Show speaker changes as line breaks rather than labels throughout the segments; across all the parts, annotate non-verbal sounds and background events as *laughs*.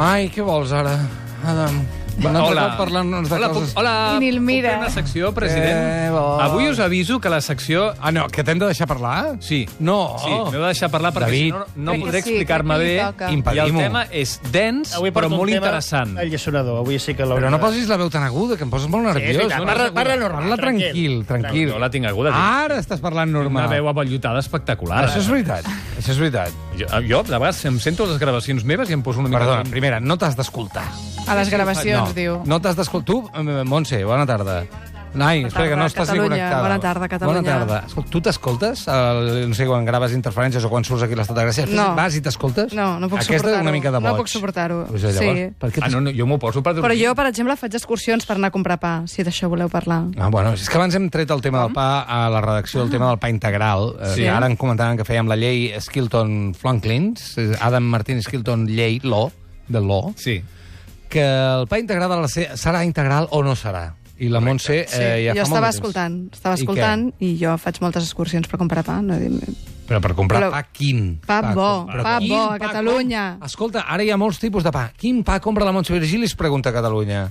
Ai, què vols ara, Adam? Un altre cop parlant-nos de
hola,
coses...
Puc, hola,
Ni el mira.
puc fer una secció, president?
Què vols?
Avui us aviso que la secció...
Ah, no, que t'hem de deixar parlar?
Sí.
No.
Sí, m'heu de deixar parlar perquè
David.
si no, no
Crec que
podré
sí,
explicar-me
crec que li toca.
bé. I el
Impedim-ho.
tema és dens,
Avui
però
porto un
molt
tema
interessant.
Alliçonador. Avui sí que l'hauré
Però no
de-
posis la veu tan aguda, que em poses molt
és
nerviós.
veritat,
No,
parla-
no,
parla normal,
Parla tranquil,
tranquil.
tranquil.
No la tinc aguda. tinc
Ara estàs parlant
Una
normal.
veu avallotada espectacular.
Ah, Això és veritat, això és veritat.
Jo, eh, jo, de vegades, em sento a les gravacions meves i em poso una mica...
Perdona, primera, no t'has d'escoltar.
A les gravacions, diu.
No t'has d'escoltar. Tu, eh, Montse, bona tarda. Ai, espera, que no
tarda,
estàs ni
Catalunya.
connectada.
Bona tarda, Catalunya.
Bona tarda. Escolta, tu t'escoltes? El, no sé, quan graves interferències o quan surts aquí a l'Estat de Gràcia?
No.
Vas i t'escoltes?
No, no puc
Aquesta és
suportar-ho.
una mica de
No
boig.
puc suportar-ho.
Pues llavors,
Sí.
Per què
Ah, no, no, jo m'ho poso per dormir.
Però jo, per exemple, faig excursions per anar a comprar pa, si d'això voleu parlar.
Ah, bueno, és que abans hem tret el tema del pa a la redacció, el tema del pa integral. Sí.
Mm. Sí.
Eh, ara en comentaven que fèiem la llei Skilton-Flonklins, eh, Adam Martin Skilton llei, l'O, de l'O,
Sí.
que el pa integral ha de ser, serà integral o no serà. I la Montse eh, ja fa molt
jo
de
estava
temps.
escoltant, estava
I què?
escoltant i, jo faig moltes excursions per comprar pa. No,
Però per comprar
Però-
pa, quin?
Pa bo,
compra.
pa
Quin
bo,
pa
a Catalunya.
compra? Escolta, ara hi ha molts tipus de pa. Quin pa compra la Montse Virgili es pregunta a Catalunya?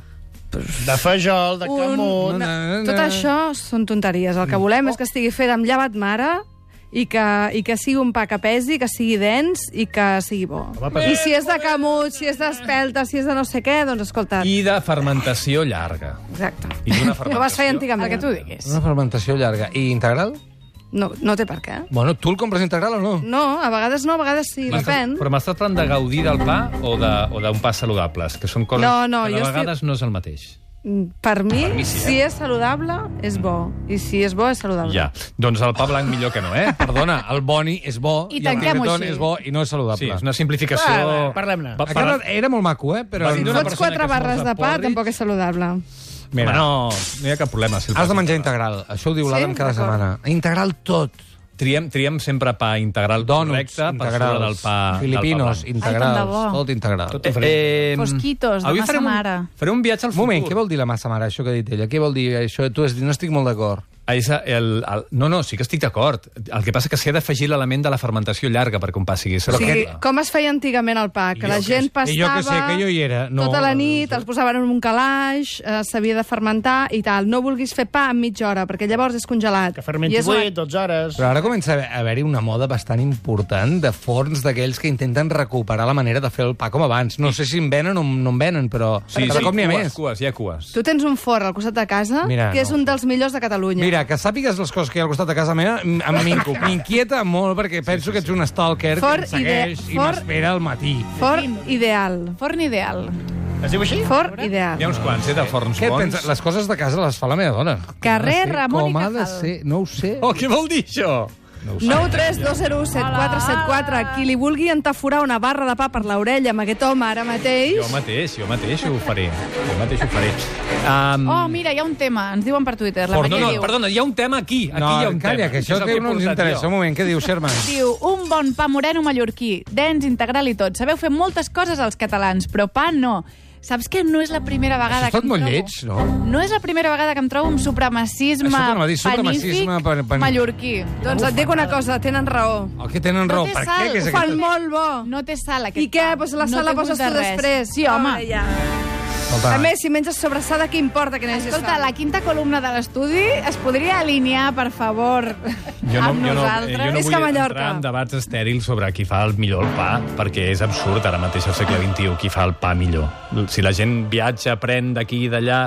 De fejol, de
Un,
camut...
una,
na, na.
tot això són tonteries.
Mm.
El que volem és que estigui fet amb llevat mare i que, i que sigui un pa que pesi, que sigui dens i que sigui bo.
però-
I si és de camut, si és d'espelta, si és de no sé què, doncs escolta,
I de fermentació llarga.
exacte.
I d'una
Ho vas fer
fermentació...
antigament. El que tu
És
diguis.
una fermentació llarga. I integral?
No, no té per què.
Bueno, tu el compres integral o no?
No, a vegades no, a vegades sí,
M'estàs-
depèn.
Però m'estàs parlant de gaudir del pa o de- o d'un pa saludables, que són coses
No, no,
que
jo
de
estic-
vegades no és el mateix.
Mm, Per mi,
Per mi sí,
sí,
eh?
si és saludable, és bo. I si és bo, és saludable.
Ja. Doncs el pa blanc millor que no, eh?
Perdona, el boni és bo,
I
i, el
tanquem-ho
reggaeton
així.
és bo i no és saludable.
Sí, és una simplificació...
Va, va, parlem-ne.
Va,
Aquest era molt maco, eh? Però
Vas dir una
Fots
persona que
quatre
es menja
barres de pa,
porridge.
tampoc és saludable.
Mira,
Mira.
no, no hi ha cap problema. Si el
has
pa-
de menjar integral. Això ho diu
Sí?
l'Adam cada
D'acord.
setmana. Integral tot.
Triem, triem sempre pa integral
Donuts,
correcte per sobre del pa,
filipinos,
del
Ai, tant de
integrals,
bo.
tot integral.
pa
Tot
blanc. eh,
Fosquitos, de
avui
massa
farem un,
mare.
Faré un viatge al
un
futur.
moment, què vol dir la massa mare, això que ha dit ella? Què vol dir això? Tu has dit, no estic molt d'acord.
Ah, És el, el, no, no, sí que estic d'acord. El que passa que s'hi ha d'afegir l'element de la fermentació llarga perquè un pa sigui
O sigui,
saludable.
com es feia antigament el pa? Que la gent
sé,
pastava...
i jo que sé, que jo hi era. No,
tota la nit,
no, no.
els posaven en un calaix, eh, s'havia de fermentar i tal. No vulguis fer pa en mitja hora, perquè llavors és congelat.
Que fermenti
I és una-
8, 12 hores...
Però ara comença a haver-hi una moda bastant important de forns d'aquells que intenten recuperar la manera de fer el pa com abans. No sé si en venen o no en venen, però
Sí,
cada
sí,
cop n'hi ha
cues,
més.
Cues, hi ha cues.
Tu tens un forn al costat de casa,
Mira,
que és
no.
un dels millors de Catalunya.
Mira, que sàpigues les coses que hi ha al costat de casa meva m- em- m'in- m'inquieta molt perquè penso que ets un stalker
Fort
que em segueix
ide-
i
fort-
m'espera al matí.
Forn ideal.
Forn ideal.
Es diu així?
Forn
Hi ha
ideal.
uns quants, eh, de forns
Què et
bons.
penses? Les coses de casa les fa la meva dona. Com
Carrer
ha de ser?
Ramon i
Com ha de
Cajal.
ser? No ho sé.
Oh, què vol dir això?
932017474. Qui li vulgui entaforar una barra de pa per l'orella amb aquest home ara mateix...
Jo mateix, jo mateix ho faré. Jo mateix ho faré. Um,
Mm.
Oh, mira, hi ha un tema. Ens diuen per Twitter. La
no,
Maria
no,
diu,
perdona, hi ha un tema aquí. Aquí hi ha un
calla,
tema.
que això
és el
que
he
no ens
portat
interessa.
jo.
Un moment, què diu, Sherman?
diu, un bon pa moreno mallorquí, dens, integral i tot. Sabeu fer moltes coses als catalans, però pa no. Saps que no és la primera vegada
Això és tot
que em
molt
trobo...
lleig, no?
No és la primera vegada que em trobo amb supremacisme,
Això t'anava a dir, supremacisme
panífic
pan- pan-
mallorquí.
Doncs et dic una cosa, tenen raó.
Oh, que tenen
No
raó.
té
Per
sal,
què? Que és
ho
aquesta?
Fan molt bo.
No té sal, aquest
I què?
pa.
Pues la
No
sal la
té
poses
gust
tu
de res. Ah,
després.
Sí, home.
Ara ja.
Escolta,
A més, si menges sobrassada, què importa que n'hagis
Escolta, la quinta columna de l'estudi es podria alinear, per favor,
Jo no,
amb
jo no, eh,
nosaltres?
jo no
És
vull
que Mallorca.
entrar en debats estèrils sobre qui fa el millor el pa, perquè és absurd ara mateix al
*laughs*
segle XXI qui fa el pa millor. Si la gent viatja, pren d'aquí i d'allà,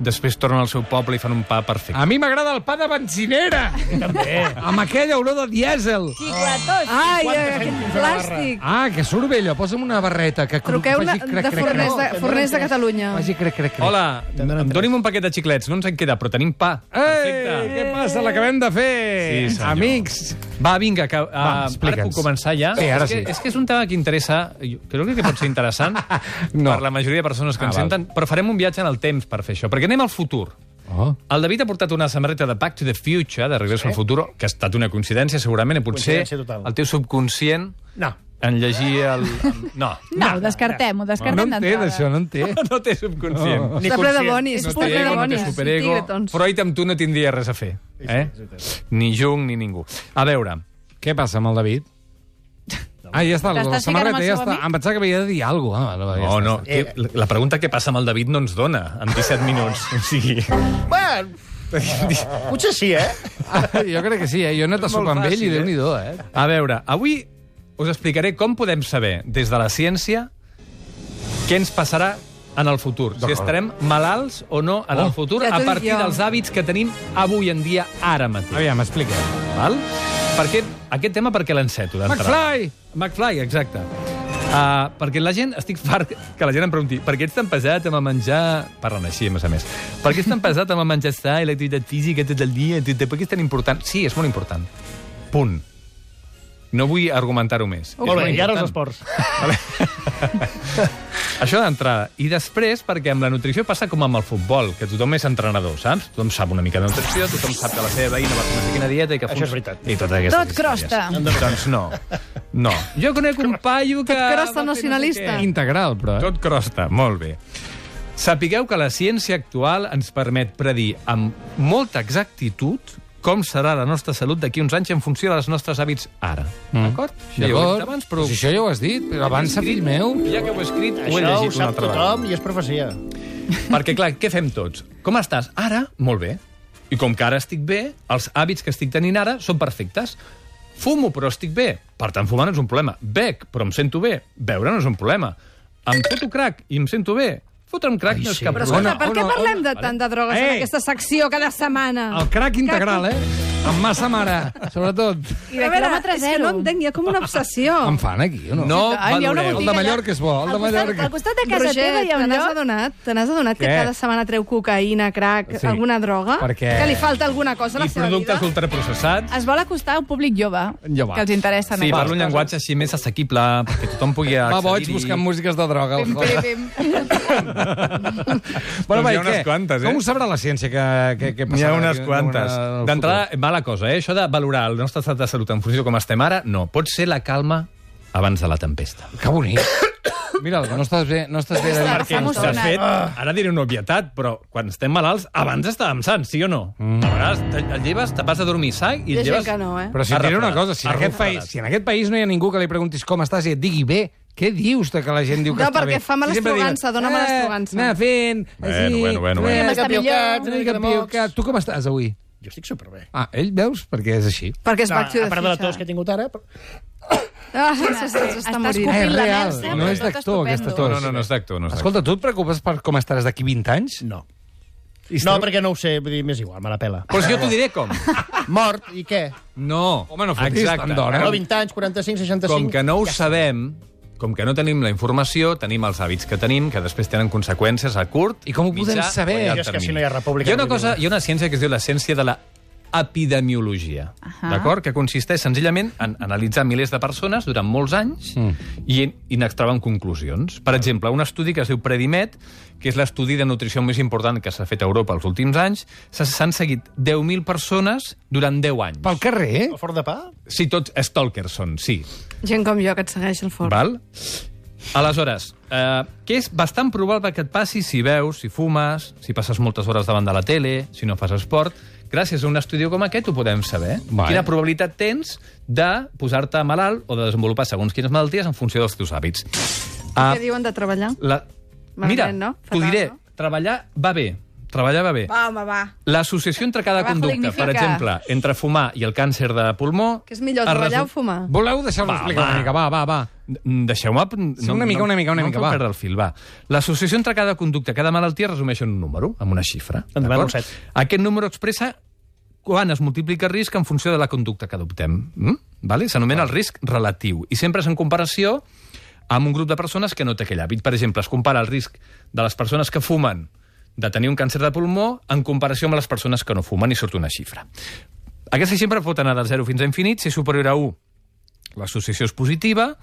després torna al seu poble i fan un pa perfecte.
A mi m'agrada el pa de benzinera. També. Amb aquella olor de dièsel.
Ai, ai, aquest plàstic.
Ah, que surt bé allò. Posa'm una barreta que cru-
Truqueu una,
faci crec,
de
crec,
forners
crec.
de, forners de Catalunya.
Faci crec, crec, crec.
Hola,
donen tres.
doni'm un paquet de xiclets, no ens en queda, però tenim pa.
Ei, què passa? L'acabem de fer.
Sí, senyor.
Amics.
Va, vinga,
ah,
que, uh, ara
explica'ns.
puc començar ja?
Sí, ara
és
sí.
Que, és que és un tema que interessa, jo crec que pot ser interessant
*laughs* No.
per la majoria de persones que
Ah,
ens
val.
senten, però farem un viatge en el temps per fer això, perquè anem al futur.
Oh.
El David ha portat una samarreta de Back to the Future, de Regreso sí. al Futuro, que ha estat una coincidència, segurament, i potser
Coincidència total.
el teu subconscient
No.
en llegia el... No,
No, ho descartem, ho
No
descartem
en té,
d'entrada.
d'això, no en té.
no té subconscient.
Oh.
Ni
Està ple de
conscient.
bonis.
No
està ple
té
de
ego, no té
bonis.
superego.
Doncs-
Tigretons.
Freud amb tu no tindria res a fer. Eh? Ni Jung ni ningú. A veure,
Què passa amb el David? Ah, ja està, la,
T'estàs
la
ficant amb el
samarreta ja
seu
està.
amic?
Em pensava que havia de dir alguna cosa. Ah, no, ja
No,
està,
no,
està.
que, la pregunta que passa amb el David no ens dona en 17 minuts. O sigui,
Bueno, potser sí,
*laughs*
eh?
Ah, jo crec que sí, eh? Jo he anat a
És molt
sopar amb ell
fàcil,
i
eh?
déu-n'hi-do, eh?
a veure, avui us explicaré com podem saber, des de la ciència, què ens passarà en el futur. Si estarem malalts o no en el futur
Ja t'ho
a
dic
partir
jo.
dels hàbits que tenim avui en dia, ara mateix.
Aviam, explica.
Val? Perquè, aquest tema perquè l'enceto d'entrada.
McFly!
McFly, exacte. Uh, perquè la gent, estic fart que la gent em pregunti per què ets tan pesat amb el menjar... Parlen així, a més a més. Per què ets tan pesat amb el menjar sa i l'activitat física tot el dia? Tot- Per què és tan important? Sí, és molt important. Punt. No vull argumentar-ho més. És
Molt bé,
molt
i ara els
important.
esports.
Això d'entrada. I després, perquè amb la nutrició passa com amb el futbol, que tothom és entrenador, saps? Tothom sap una mica de nutrició, tothom sap que la seva veïna va fer no sé quina dieta i que...
Això
fons-
és veritat.
I tot aquesta
Tot crosta.
Doncs no. No. Jo conec un paio que...
Tot crosta
va fer no sé
nacionalista.
què.
Integral, però, eh?
Tot crosta, molt bé. Sapigueu que la ciència actual ens permet predir amb molta exactitud com serà la nostra salut d'aquí uns anys en funció dels nostres hàbits ara. Mm. D'acord? Això ja ho he dit
D'acord?
abans, però...
Però... Si això ja ho has dit, però avança, fill meu.
Ja que ho he escrit, ho he
Això ho
llegit una
sap
altra vegada.
tothom i és profecia.
Perquè, clar, què fem tots? Com estàs? Ara, molt bé. I com que ara estic bé, els hàbits que estic tenint ara són perfectes. Fumo, però estic bé. Per tant, fumar no és un problema. Bec, però em sento bé. Beure no és un problema. Em foto crac i em sento bé. Fotre'm crac Ai, no és
sí.
cap
Però
problema.
escolta, per què
Ona, ona,
parlem de
vale.
tant de drogues
Ei!
en aquesta secció cada setmana?
El crac integral, eh? Amb massa mare, sobretot.
Però
I de
a veure,
quilòmetre
és que
zero.
no entenc, hi ha com una obsessió.
Em fan aquí, o no?
No
Ah, hi ha una
valoreu.
El de Mallorca és bo, el
Al
de
costat-
Mallorca.
Al costat de casa
Roger,
teva hi ha
te
un
n'has
lloc...
adonat? Te n'has adonat que
Què?
cada setmana treu cocaïna, crac,
Sí.
alguna droga?
Perquè-
Que li falta alguna cosa a la
I
seva vida?
productes ultraprocessats.
Es vol acostar a un públic jove,
Jove.
que els interessa.
Sí, parlo un llenguatge així més assequible, perquè tothom pugui accedir-hi.
Va boig buscant músiques de droga. el Jorge. *laughs*
Doncs
va,
hi ha
i
unes
què?
quantes, eh?
Com ho sabrà la ciència que, que, que
N'hi
passarà?
ha unes
aquí
quantes.
en el
D'entrada,
futur?
mala cosa, eh? Això de valorar el nostre estat de salut en funció de com estem ara, no. Pot ser la calma abans de la tempesta.
Que bonic. *coughs* Mira, no estàs bé, no estàs bé. David.
Perquè
No
ens
estàs
De
Donat.
fet,
Ah.
ara diré una obvietat, però quan estem malalts, abans estàvem sants, sí o no? Mm. A vegades te- et lleves, te vas a dormir sa i
Hi
et
ha gent
lleves...
que no, eh?
Però si et diré una
Arrefredat.
cosa, si en, aquest
Arrefredat.
país, si en aquest país no hi ha ningú que li preguntis com estàs i et digui bé, què dius de que la gent diu que
No,
està
perquè
bé?
fa mala
Si sempre diuen,
estrogança, dona mala
"Eh,
estrogança."
Anar fent...
Bueno,
així,
bueno, bueno, bueno.
eh,
Una mica
piocat,
millor.
Una mica piocat. Tu com estàs avui?
Jo estic superbé.
Ah, ell veus? Perquè és així.
Perquè és
No,
no, Back to
a
the
part de la tos
Future.
que he tingut ara... Però...
Ah, s'està
Estàs
morint.
escopint
Eh,
la
real.
merda.
No és
tot
d'actor, aquesta
estupendo.
tos.
No, no, no, no és d'actor. No és d'actor.
Escolta, tu et preocupes per com estaràs d'aquí 20 anys?
No.
I
No,
estarà-
perquè no ho sé, vull dir, m'és igual, me la pela.
Però si jo t'ho diré com.
Mort, i què?
No.
Home, no fotis
Exacte.
tant d'hora.
No, 20 anys, 45, 65...
Com que no ho sabem, com que no tenim la informació, tenim els hàbits que tenim, que després tenen conseqüències a curt...
I com ho podem
mitjà
saber?
o llarg
Jo
és que
termini.
si no hi ha república,
Hi ha una,
no vull
cosa,
viure.
hi ha una ciència que es diu la ciència de la epidemiologia,
Ahà.
d'acord? Que consisteix senzillament en analitzar milers de persones durant molts anys i, i n'extrauen conclusions. Per exemple, un estudi que es diu Predimet, que és l'estudi de nutrició més important que s'ha fet a Europa els últims anys, s'ha- s'han seguit 10.000 persones durant 10 anys.
Pel carrer?
El forn de pa?
Sí, tots stalkers són, sí.
Gent com jo que et segueix el fort.
Val? Aleshores, eh, que és bastant probable que et passi si veus, si fumes, si passes moltes hores davant de la tele, si no fas esport... Gràcies a un estudi com aquest ho podem saber.
Vale.
Quina probabilitat tens de posar-te malalt o de desenvolupar segons quines malalties en funció dels teus hàbits. Ah,
Què diuen de treballar?
la... Mira,
Malament, no?
t'ho
Fatal,
diré.
no?
Treballar va bé. Treballar va bé.
Va, home, va.
L'associació entre cada
Trabajo
conducta, per
dignifica.
exemple, entre fumar i el càncer de pulmó...
Que és millor,
es
treballar
resu-
o fumar?
Voleu deixar-lo
Va,
explicar
va.
una mica? Va, va, va.
Mm, Deixeu-me...
Sí, una mica, una mica, una
no em
mica,
feu
va.
perdre el fil, va. L'associació entre cada conducta, cada malaltia, resumeix en un número, amb una xifra.
Doncs
Endavant,
d'acord?
Roset.
Aquest número expressa quan es multiplica el risc en funció de la conducta que adoptem. Mm? Vale? S'anomena el risc relatiu. I sempre és en comparació amb un grup de persones que no té aquell hàbit. Per exemple, es compara el risc de les persones que fumen de tenir un càncer de pulmó en comparació amb les persones que no fumen i surt una xifra. Aquesta xifra pot anar del 0 fins a infinit. Si és superior a 1, l'associació és positiva.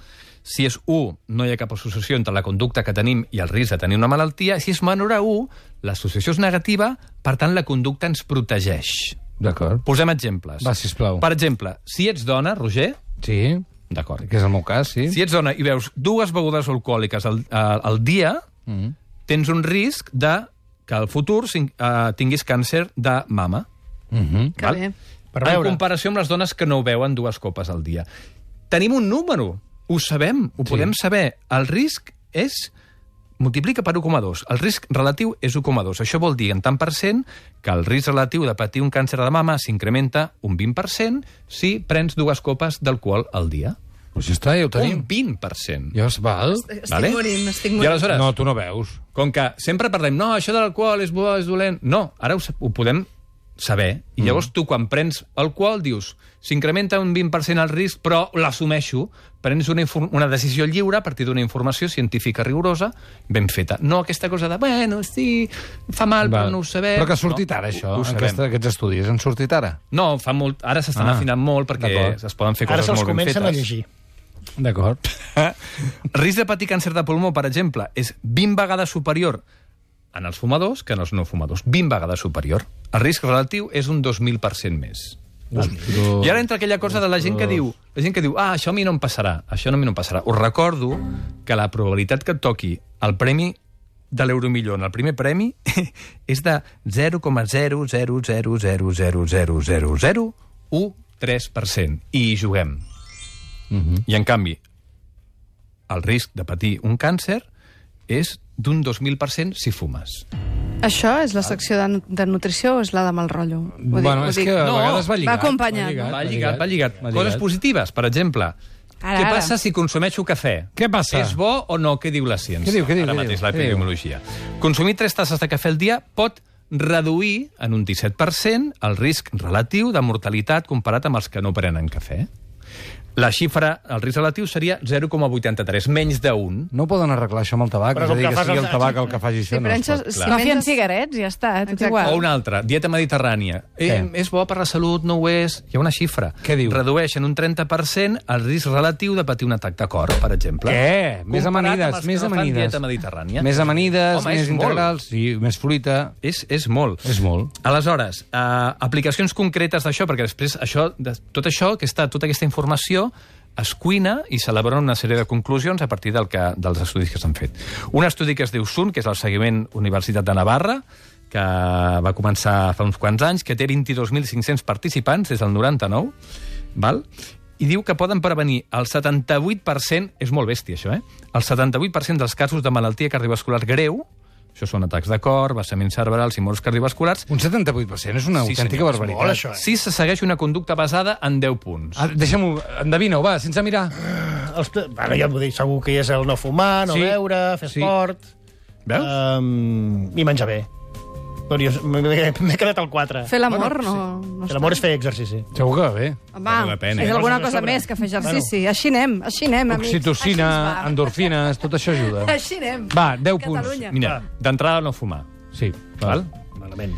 Si és 1, no hi ha cap associació entre la conducta que tenim i el risc de tenir una malaltia. Si és menor a 1, l'associació és negativa, per tant, la conducta ens protegeix.
D'acord.
Posem exemples.
Va, sisplau.
Per exemple, si ets dona, Roger...
Sí,
D'acord.
que és el meu cas, sí.
Si ets dona i veus dues begudes alcohòliques al, al, al dia,
Mhm.
mm. tens un risc de que al futur sin- eh, tinguis càncer de mama.
Mhm.
Que
Val.
bé.
Per
en
veure.
comparació amb les dones que no ho veuen dues copes al dia. Tenim un número Ho sabem,
Sí.
ho sí. podem saber. El risc és multiplica per 1,2. El risc relatiu és 1,2. Això vol dir, en tant per cent, que el risc relatiu de patir un càncer de mama s'incrementa un 20% si prens dues copes d'alcohol al dia.
Pues ja està, ja ho tenim.
Un 20%.
Ja es val.
Estic
Vale.
morint, estic
I
morint.
aleshores,
No,
no.
tu no veus.
com que sempre parlem, no, això de l'alcohol és bo, és dolent... No, ara ho, sa- ho podem saber. I
Mm.
llavors tu, quan prens alcohol, dius, s'incrementa un 20% el risc, però l'assumeixo. Prens una, infor- una decisió lliure a partir d'una informació científica rigorosa ben feta. No aquesta cosa de, bueno, sí, fa mal,
Val.
però no ho sabem.
Però que ha sortit
no,
ara, això.
Ho, ho sabem.
aquesta, aquests estudis han sortit ara.
No, fa molt... Ara s'estan
Ah,
ah, afinant molt perquè
d'acord.
es poden fer
Ara
coses
se'ls
molt ben fetes.
comencen a llegir.
*laughs* D'acord.
Risc de patir càncer de pulmó, per exemple, és 20 vegades superior en els fumadors que en els no fumadors. 20 vegades superior. El risc relatiu és un 2.000% més.
Doncs,
I ara entra aquella cosa de la gent que diu, la gent que diu, ah, això a mi no em passarà, això a mi no em passarà. Us recordo que la probabilitat que et toqui el premi de l'Euromilló en el primer premi *laughs* és de 0,00000000013%. I hi juguem. I, en canvi, el risc de patir un càncer és d'un 2.000% si fumes.
Això és la secció de, de nutrició o és la de mal rotllo? Ho dic,
bueno,
ho
és
dic.
que a
No,
vegades va
va
lligat.
acompanyat.
Va lligat, va lligat. Coses positives, per exemple.
Ara,
què
ara.
passa si consumeixo cafè?
Què passa?
És bo o no? Què diu la ciència?
Què diu, què diu,
Ara
què
mateix
diu?
la
Què diu?
epidemiologia. Consumir tres tasses de cafè al dia pot reduir en un 17% el risc relatiu de mortalitat comparat amb els que no prenen cafè. La xifra, el risc relatiu, seria 0,83, menys d'un.
No ho poden arreglar això amb el tabac,
Però
és a
com
dir,
que
que
fas
sigui el
els-
tabac el que faci això.
Si
no es
prenses,
pot,
si
clar.
No fien
menges-
cigarets, ja està, tot
Exacte.
igual.
O una altra, dieta mediterrània. Eh,
Què?
és bo per la salut, no ho és. Hi ha una xifra.
Què diu?
Redueix en un 30% el risc relatiu de patir un atac de cor, per exemple.
Què? Més
Comparat amb
amanides,
els que
més
no fan
amanides.
dieta mediterrània.
Més amanides,
Home,
més
és molt.
integrals, sí, més fruita.
És, és molt.
És molt.
Aleshores, eh, aplicacions concretes d'això, perquè després això, de, tot això, aquesta, tota aquesta informació, es cuina i s'elabora una sèrie de conclusions a partir del que, dels estudis que s'han fet. Un estudi que es diu SUN, que és el seguiment Universitat de Navarra, que va començar fa uns quants anys, que té 22.500 participants des del 99, val? i diu que poden prevenir el 78%, és molt bèstia això, eh? el 78% dels casos de malaltia cardiovascular greu, això són atacs de cor, vessaments cerebrals i morts cardiovasculars,
Un 78% és una
Sí,
autèntica
senyor, és
barbaritat.
Molt, això, eh?
si se segueix una conducta basada en 10 punts.
Ah, Deixa'm-ho, endevina-ho, va, sense mirar.
Els, bueno, ja ho dic, segur que hi és el no fumar, no
Sí.
sí. beure, fer
Sí.
sí. esport...
eh,
Veus?
Um, I menjar bé. Però jo m'he m'he quedat al 4.
Fer l'amor no- no
Fer l'amor és fer exercici.
Segur que va bé.
Vale
Home,
la pena,
és
eh?
alguna
Coses de
cosa
sobre.
més que fer exercici. Així anem, així anem, amics.
Oxitocina,
Així ens va.
endorfines, tot això ajuda.
*laughs*
Així anem.
Va, 10
Catalunya.
Mira, d'entrada no fumar.
punts. Sí,
Val?
Malament.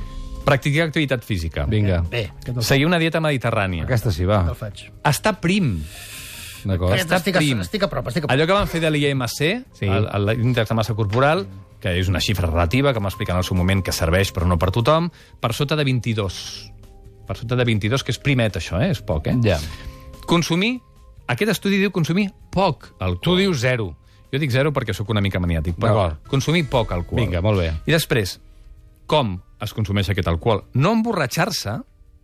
Practicar activitat física.
Vinga.
Bé, que te'l
Seguir una dieta mediterrània.
Aquesta sí, va.
te'l faig.
Estar prim.
D'acord.
Està
estic, a,
prim.
estic a prop, estic a prop.
Allò que van fer de l'IMC,
Sí.
sí. l'índex de massa corporal, que és una xifra relativa, que m'expliquen al seu moment que serveix però no per tothom, per sota de 22. Per sota de 22, que és primet això, eh? és poc. Eh?
Ja.
Consumir, aquest estudi diu consumir poc alcohol.
Tu dius 0.
Jo dic zero perquè sóc una mica maniàtic, però
D'acord.
consumir poc alcohol.
Vinga, molt bé.
I després, com es consumeix aquest alcohol? No emborratxar-se,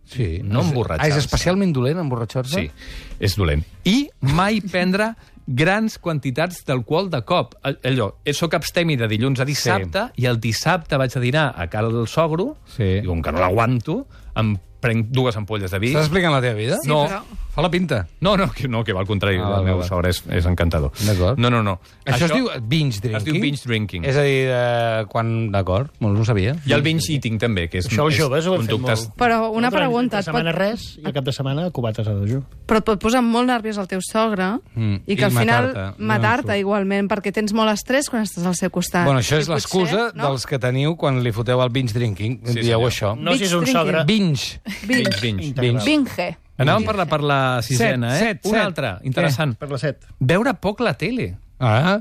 Sí.
No
És-
emborratxar-se.
Ah, és especialment dolent emborratxar-se?
sí, és dolent. I mai prendre grans quantitats d'alcohol de cop. All- Allò, eh, sóc abstemi de dilluns a dissabte sí. i el dissabte vaig a dinar a cal del sogro
Sí.
i com que no l'aguanto, em prenc dues ampolles de vi.
Estàs explicant la teva vida?
Sí,
No.
però-
Fa la pinta.
No, no, que, no, que va al contrari.
Ah,
Ah,
val,
el meu
val.
sobre és, és encantador.
D'acord.
No, no, no.
Això, Això es diu binge drinking?
es diu binge drinking.
És a dir, eh, quan... D'acord, no ho sabia.
I el binge eating també, que és...
Això els
és
joves ho han fet
conductes-
molt.
Però una
Nosaltres,
pregunta,
Entre
et pot-
setmana res i cap de setmana cubates a dejú.
Però et pot posar molt nerviós el teu sogre
Mm,
mm. i
i
que al final
matar-te. No,
matar-te
surt.
igualment, perquè tens molt estrès quan estàs al seu costat.
Bueno, això és
I Ah, potser,
l'excusa
no?
dels que teniu quan li foteu el binge drinking.
Sí,
Dieu
senyor.
això.
No si és un
drinking.
sogre...
Binge.
Binge, binge.
Integral.
Vinge.
Anàvem per la, per la sisena,
Set, set,
eh? Una
set. Eh.
altra, interessant.
Per la 7.
Veure poc la tele.
Ah,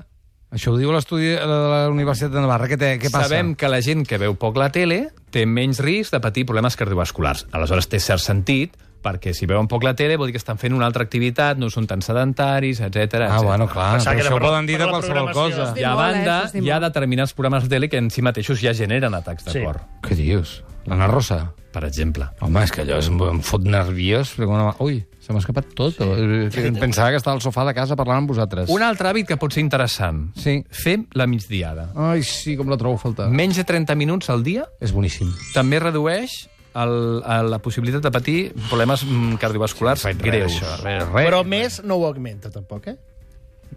això ho diu l'estudi eh, de la Universitat de Navarra. Què, té, què passa?
Sabem que la gent que veu poc la tele té menys risc de patir problemes cardiovasculars. Aleshores, té cert sentit, perquè si veuen poc la tele vol dir que estan fent una altra activitat, no són tan sedentaris, etc.
Ah, bueno, clar, però
Pensava que era
això ho
per la-
poden dir
per
de
la
qualsevol
programació.
cosa.
Sí.
I a
Molt, eh,
banda,
això és dir
hi ha
molt.
determinats programes de tele que en si mateixos ja generen atacs de
Sí.
cor.
Què dius? L'Anna Rosa?
per exemple.
Home, és que allò és, em fot nerviós. perquè Una... Ui, se m'ha escapat tot. Sí. Pensava que estava al sofà de casa parlant amb vosaltres.
Un altre hàbit que pot ser interessant.
Sí.
Fer la migdiada.
Ai, sí, com la trobo a faltar.
Menys de 30 minuts al dia
És boníssim.
també redueix el, el, la possibilitat de patir problemes mm, cardiovasculars sí, greus.
res, res.
Però més no ho augmenta, tampoc, eh?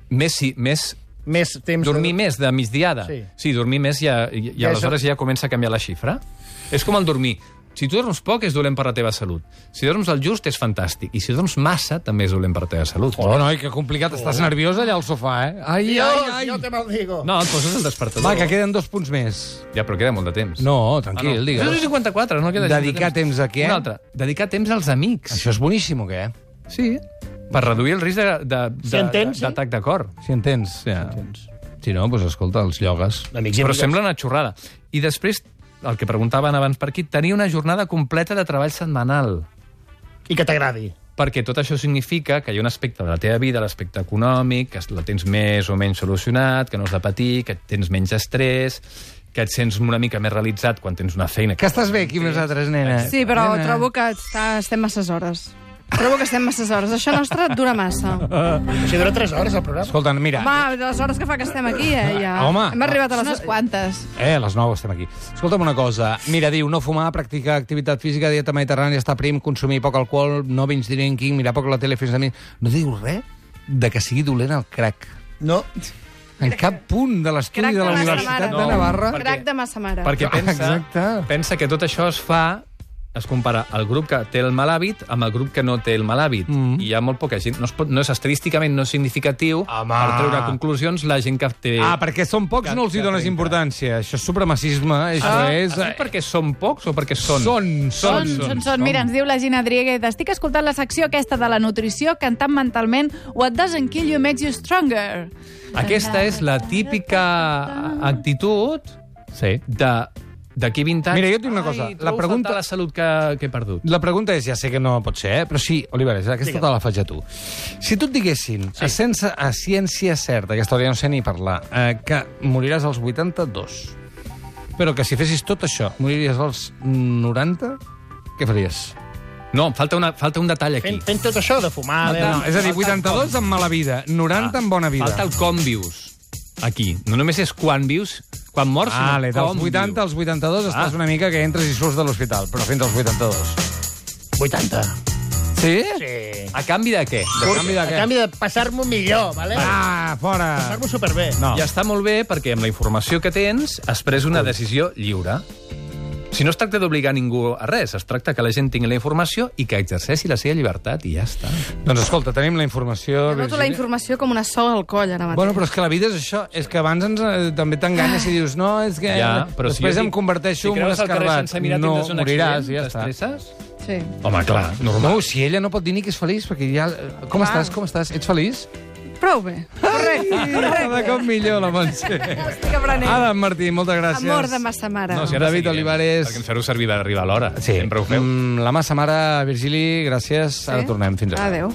Més, sí, més
Més temps...
dormir més de migdiada.
Sí.
sí dormir més ja, i, i
Ja és-
aleshores ja comença a canviar la xifra. És com el dormir. Si tu dorms poc, és dolent per la teva salut. Si dorms el just, és fantàstic. I si dorms massa, també és dolent per la teva salut.
Oh, noi, que complicat. Estàs nerviós allà al sofà, eh? Ai, ai,
Dios,
ai.
yo te maldigo.
No, et poses el despertador.
Va, que queden dos punts més.
Ja, però queda molt de temps.
No,
Ah,
tranquil,
no.
digues.
54, no queda gens de
Dedicar temps a què?
Un altre. Dedicar temps als amics.
Això és boníssim, o què?
Sí. Per reduir el risc de- de-
Si
de-
en tens, sí.
d'atac de cor.
Si entens. Ja. Si no, doncs escolta, els llogues.
Amics i
Però
amigues.
sembla una xorrada. I després, el que preguntaven abans per aquí, tenir una jornada completa de treball setmanal.
I que t'agradi.
Perquè tot això significa que hi ha un aspecte de la teva vida, l'aspecte econòmic, que la tens més o menys solucionat, que no has de patir, que tens menys estrès, que et sents una mica més realitzat quan tens una feina.
Que estàs bé aquí amb nosaltres, nena?
Sí, però
nena. eh?
trobo que està, estem masses hores. Trobo que estem masses hores. Això nostre dura massa.
Això dura 3 hores, el programa.
Escolta, mira,
Home, de les hores que fa que estem aquí, eh, ja.
Home.
Hem arribat a
Són
les...
unes quantes.
Eh, a les 9 estem aquí. Escolta'm una cosa. Mira, diu, no fumar, practicar activitat física, dieta mediterrània, estar prim, consumir poc alcohol, no binge drinking, mirar poc la tele fins a mi... No diu res de que sigui dolent el crack.
No.
En cap punt de l'estudi
Crac
de
de
la
massa
Universitat
mare.
de
No,
Navarra...
perquè-
Crac de massa mare.
Perquè pensa,
Exacte.
pensa que tot això es fa es compara el grup que té el mal hàbit amb el grup que no té el mal hàbit. Mm. I hi ha molt poca gent. No és, pot, no és estadísticament no és significatiu
Home.
per treure conclusions la gent que té...
Ah, perquè són pocs,
Cap-
no els hi
cap
dones
trencat.
importància. Això és supremacisme, això eh?
Ah,
és...
has dit perquè són pocs o perquè són?
Són,
Són,
són,
són, són, són. Mira, ens diu la Gina Drieguet, estic escoltant la secció aquesta de la nutrició, cantant mentalment What doesn't kill you makes you stronger.
Aquesta és la típica actitud
Sí.
de d'aquí 20 anys...
Mira, jo et dic una cosa.
Ai,
La
la
pregunta-
pregunta... la salut que, que he perdut.
La pregunta és, ja sé que no pot ser, eh? però sí, Oliveres, aquesta te la faig a tu. Si tu et diguessin, sí. a, sense, a ciència certa, aquesta hora ja no sé ni parlar, eh, que moriràs als 82, però que si fessis tot això, moriries als 90, què faries?
No, falta, una, falta un detall aquí.
Fent, fent tot això de fumar...
Eh,
De...
No, és a dir, 82 amb mala vida, 90 amb bona vida.
Ah, Falta el com vius. Aquí. No només és quan vius, quan mors,
Vale,
sinó
dels
com Ah.
80
vius.
als 82 estàs una mica que entres i surts de l'hospital, però fins als 82.
80.
Sí?
Sí.
A canvi de què?
De canvi de
A
què?
canvi de passar-m'ho millor, vale?
Ah, fora!
Passar-m'ho superbé.
No.
I està molt bé perquè amb la informació que tens es pres una decisió lliure. Si no es tracta d'obligar ningú a res, es tracta que la gent tingui la informació i que exerceixi la seva llibertat i ja està.
Doncs escolta, tenim la informació...
Noto tota la
Virgínia.
informació com una soga al coll, ara mateix.
Bueno, però és que la vida és això. És que abans ens, eh, també t'enganyes i dius, no, és que
Ja, però si
després
jo
em
dic-
converteixo
si
en un
creues el carrer
escarbat.
sense mirar,
no,
tindràs un
moriràs,
accident,
i ja està.
t'estresses?
Sí.
Home, clar, normal.
No, si ella no pot dir ni que és feliç, perquè ja...
Ah.
Com estàs, com estàs? Ets feliç? Ah,
Prou bé. Correcte,
Cada
correcte.
cop millor, la Montse.
Estic aprenent.
Adam Martí, moltes Ah, gràcies.
Amor de massa mare.
No, si
ara
ara
David seguirem, Olivares. perquè
Perquè
ens
ens feu servir d'arribar a l'hora.
Sí.
Sempre ho feu.
Mm, la massa mare, Virgili, gràcies. Ara
Sí?
tornem. Fins ara.
Adéu.